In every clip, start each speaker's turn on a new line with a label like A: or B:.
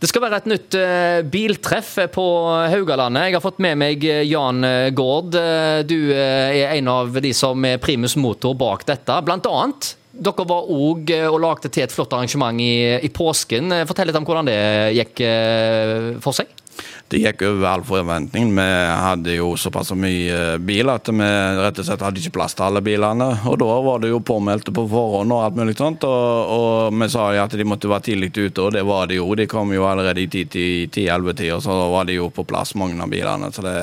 A: Det skal være et nytt eh, biltreff på Haugalandet. Jeg har fått med meg eh, Jan eh, Gaard. Eh, Du eh, er en av de som er primus motor bak dette. Blant annet, dere var òg og lagde til et flott arrangement i, i påsken. Eh, Fortell litt om hvordan det gikk eh, for seg.
B: Det gikk over all forventning. Vi hadde jo såpass mye eh, bil at vi rett og slett hadde ikke plass til alle bilene. Og da var det jo påmeldte på forhånd og alt mulig sånt. Og, og vi sa jo at de måtte være tidlig ute, og det var de jo. De kom jo allerede i 10-11-tida, så da var de jo på plass, mange av bilene. Så det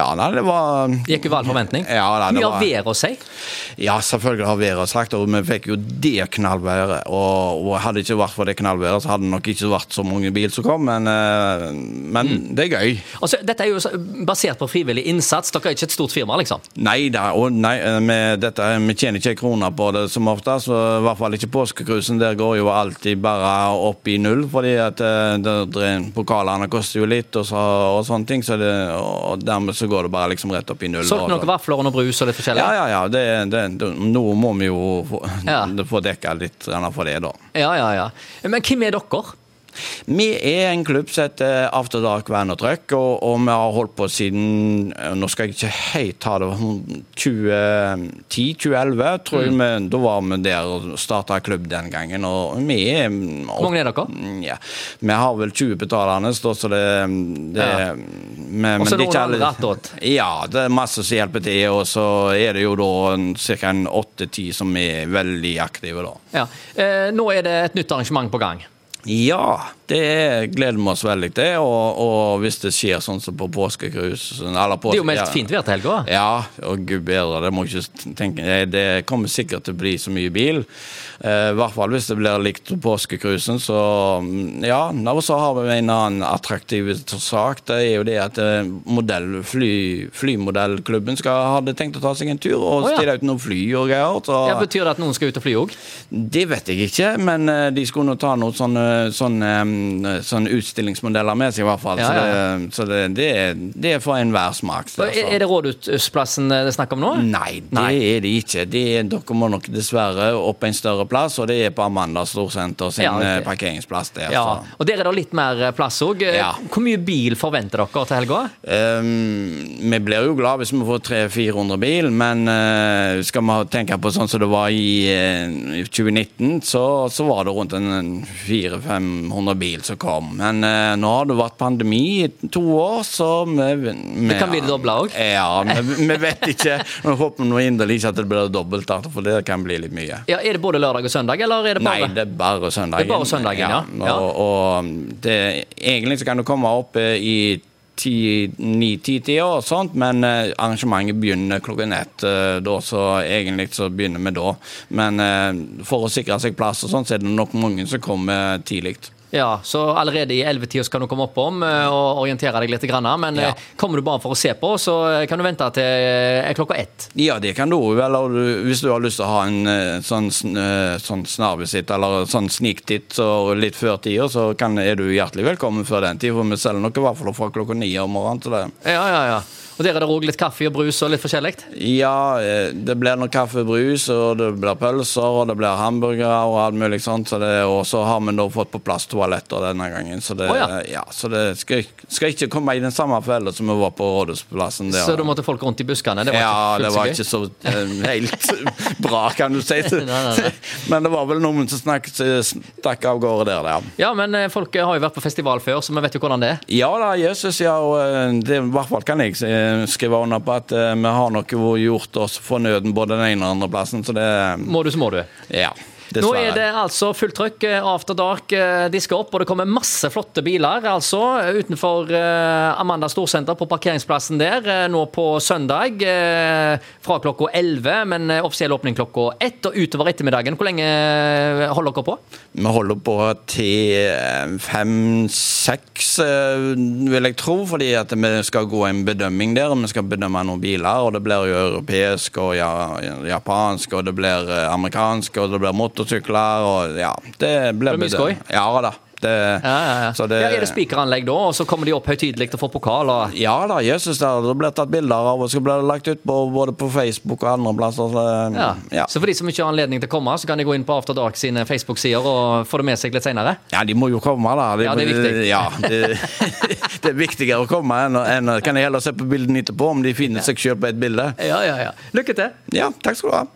B: Ja, nei, det var
A: Gikk over all forventning.
B: Ja, nei, det
A: Mye
B: var-
A: av været å si.
B: ja, selvfølgelig har været sagt, og vi fikk jo det knallværet. Og, og hadde det ikke vært for det knallværet, så hadde det nok ikke vært så mange bil som kom, men, eh, men det er gøy.
A: Altså, dette er jo så- basert på frivillig innsats. Dere er ikke et stort firma, liksom.
B: Nei da, og nei, eh, vi- dette, vi tjener ikke en krone på det som oftest. og I hvert fall ikke påskekrusen. Der går jo alltid bare opp i null, fordi at eh, der- der- pokalene koster jo litt og, så, og sånne ting. Så det, og dermed så går det bare liksom rett opp i null.
A: Solgte
B: og
A: dere
B: så-
A: vafler og noe brus og litt forskjellig?
B: Ja, ja, ja. Det, det, det, nå må vi jo få,
A: Ja.
B: få dekka litt grann for det, da.
A: ja, ja, ja. Men hvem er dere?
B: Vi er en klubb som heter After Dark Van og Trøkk, og, og vi har holdt på siden eh, Nå skal jeg ikke helt ta det 2010-2011, tror
A: Mm.
B: jeg. Vi, da var vi der og starta klubb den gangen, og vi er mm,
A: Hvor mange er dere?
B: Mm, Ja. Vi har vel 20 betalende, så det, mm, det
A: Ja.
B: men- men
A: Og så
B: det er ikke
A: noen
B: alle-
A: andre attåt.
B: Ja, det er masse som hjelper til, og så er det jo da ca. 8-10 som er veldig aktive, da.
A: Ja. Eh, nå er det et nytt arrangement på gang.
B: Ja, det gleder vi oss veldig til. Og, og hvis det skjer sånn som på påskecruise eller
A: Det
B: påske,
A: er jo meldt fint vær til helga.
B: Ja, og gud bedre, det må jeg ikke tenke Det- Det kommer sikkert til å bli så mye bil. Eh, I hvert fall hvis det blir likt som påskecruisen, så mm, Ja. Og så har vi en annen attraktiv sak. Det er jo det at eh, modell, fly, flymodellklubben skal, hadde tenkt å ta seg en tur og
A: Å, ja.
B: stille ut noen fly og greier. Så.
A: Ja, betyr det at noen skal ut og fly òg?
B: Det vet jeg ikke, men eh, de skulle nå ta noen sånne, sånne, em, sånne utstillingsmodeller med seg, i hvert fall.
A: Ja, ja.
B: Så, det, så det, det, er, det er for enhver smak. så-
A: Er, er det Rådhusplassen eh, det er snakk om nå?
B: Nei, det
A: Nei.
B: er det ikke. Det er, dere må nok dessverre opp en større plass, og det er på Amanda Storsenter sin
A: Ja, riktig.
B: eh, parkeringsplass altså. der.
A: Ja,
B: så.
A: og Der er det litt mer eh, plass òg.
B: Ja.
A: Hvor mye bil forventer dere til helga?
B: Ehm, vi blir jo glad hvis vi får 300-400 bil, men eh, skal vi ha- tenke på sånn som det var i, eh, i 2019, så, så var det rundt en- en 400-500 bil som kom. Men eh, nå har det vært pandemi i to år, så vi, vi
A: Det kan bli det dobla også?
B: Ja, vi, vi vet ikke. Vi håper nå inderlig ikke at det blir dobbelt, da, for det kan bli litt mye.
A: Ja, Er det både lørdag og søndag, eller er det bare
B: Nei, det er bare søndagen.
A: Det er bare søndagen, ja. Ja.
B: Og, og det, egentlig så kan du komme opp eh, i 9-10-tida og sånt, men eh, arrangementet begynner klokken ett eh, da, så egentlig så begynner vi da. Men eh, for å sikre seg plass og sånt, så er det nok mange som kommer tidlig.
A: Ja, Så allerede i 11-tida kan du komme opp om eh, og orientere deg litt. Grann, men
B: Ja.
A: eh, kommer du bare for å se på, så eh, kan du vente til eh, klokka ett.
B: Ja, det kan du òg, eller du- hvis du har lyst til å ha en eh, sånn, sn- eh, sånn snarvisitt eller sånn sniktitt så litt før tida, så kan, er du hjertelig velkommen før den tid, for vi selger nok i hvert fall fra klokka ni om morgenen. Så det.
A: Ja, ja, ja. Og Der er det òg litt kaffe og brus og litt forskjellig?
B: Ja, eh, det blir noe kaffe og brus, og det blir pølser, og det blir hamburgere og alt mulig sånt. Så det, og så har vi da fått på plass toaletter denne gangen, så det,
A: Å,
B: ja.
A: ja.
B: så det skal, skal ikke komme i den samme fella som vi var på Rådhusplassen. der.
A: Så da måtte folk rundt i buskene? Det var
B: ja,
A: ikke fullt
B: det
A: så
B: var
A: gøy.
B: ikke så eh, helt bra, kan du si.
A: Nei, nei, nei.
B: Men det var vel noen som snakket, stakk av gårde der, ja.
A: Ja, men eh, folk har jo vært på festival før, så vi vet jo hvordan det er.
B: Ja da, Jesus, ja. Og eh, det, i hvert fall kan jeg eh, skrive under på at eh, vi har nok gjort oss fornøden både den ene og den andre plassen, så det
A: Må du, så må du.
B: Ja.
A: Nå
B: Dessverre.
A: er det altså fullt trøkk. eh, After Dark eh, de skal opp, og det kommer masse flotte biler altså utenfor eh, Amanda Storsenter på parkeringsplassen der eh, nå på søndag eh, fra klokka 11, men eh, offisiell åpning klokka 1 og utover ettermiddagen. Hvor lenge eh, holder dere på?
B: Vi holder på til eh, fem-seks, eh, vil jeg tro, fordi at vi skal gå en bedømming der. Vi skal bedømme noen biler, og det blir jo europeisk og ja, japansk, og det blir eh, amerikansk, og det blir motorsykler, og ja Det blir
A: Det blir mye
B: bedøm-
A: skoj.
B: Ja da. Det,
A: Ja, ja, ja.
B: Så det, Mm,
A: ja, er det spikeranlegg da, og så kommer de opp høytidelig og får pokaler?
B: Ja da, Jesus, det har blitt tatt bilder av, og så blir det lagt ut på, både på Facebook og andre plasser. Så,
A: Ja.
B: ja.
A: Så for de som ikke har anledning til å komme, så kan de gå inn på After Dark sine Facebook-sider og få det med seg litt senere?
B: Ja, de må jo komme, da. De,
A: Ja, det er viktig.
B: Ja, det, det er viktigere å komme enn å enn å- Kan jeg heller se på bildene etterpå, om de finner seg sjøl på et bilde.
A: Ja, ja, ja. Lykke til!
B: Ja, takk skal du ha.